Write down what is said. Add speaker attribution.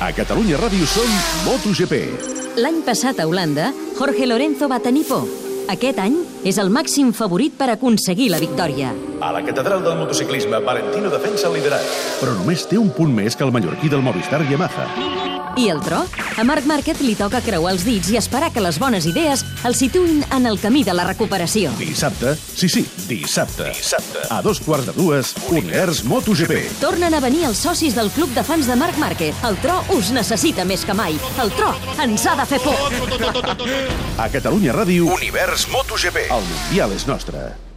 Speaker 1: A Catalunya Ràdio som MotoGP.
Speaker 2: L'any passat a Holanda, Jorge Lorenzo va tenir por. Aquest any és el màxim favorit per aconseguir la victòria.
Speaker 3: A la catedral del motociclisme, Valentino defensa el liderat.
Speaker 1: Però només té un punt més que el mallorquí del Movistar Yamaha.
Speaker 2: I el tro? A Marc Márquez li toca creuar els dits i esperar que les bones idees el situïn en el camí de la recuperació.
Speaker 1: Dissabte, sí, sí, dissabte. Dissabte. A dos quarts de dues, Univers MotoGP.
Speaker 2: Tornen a venir els socis del club de fans de Marc Márquez. El tro us necessita més que mai. El tro ens ha de fer por.
Speaker 1: A Catalunya Ràdio,
Speaker 3: Univers MotoGP.
Speaker 1: el Mundial és nostre.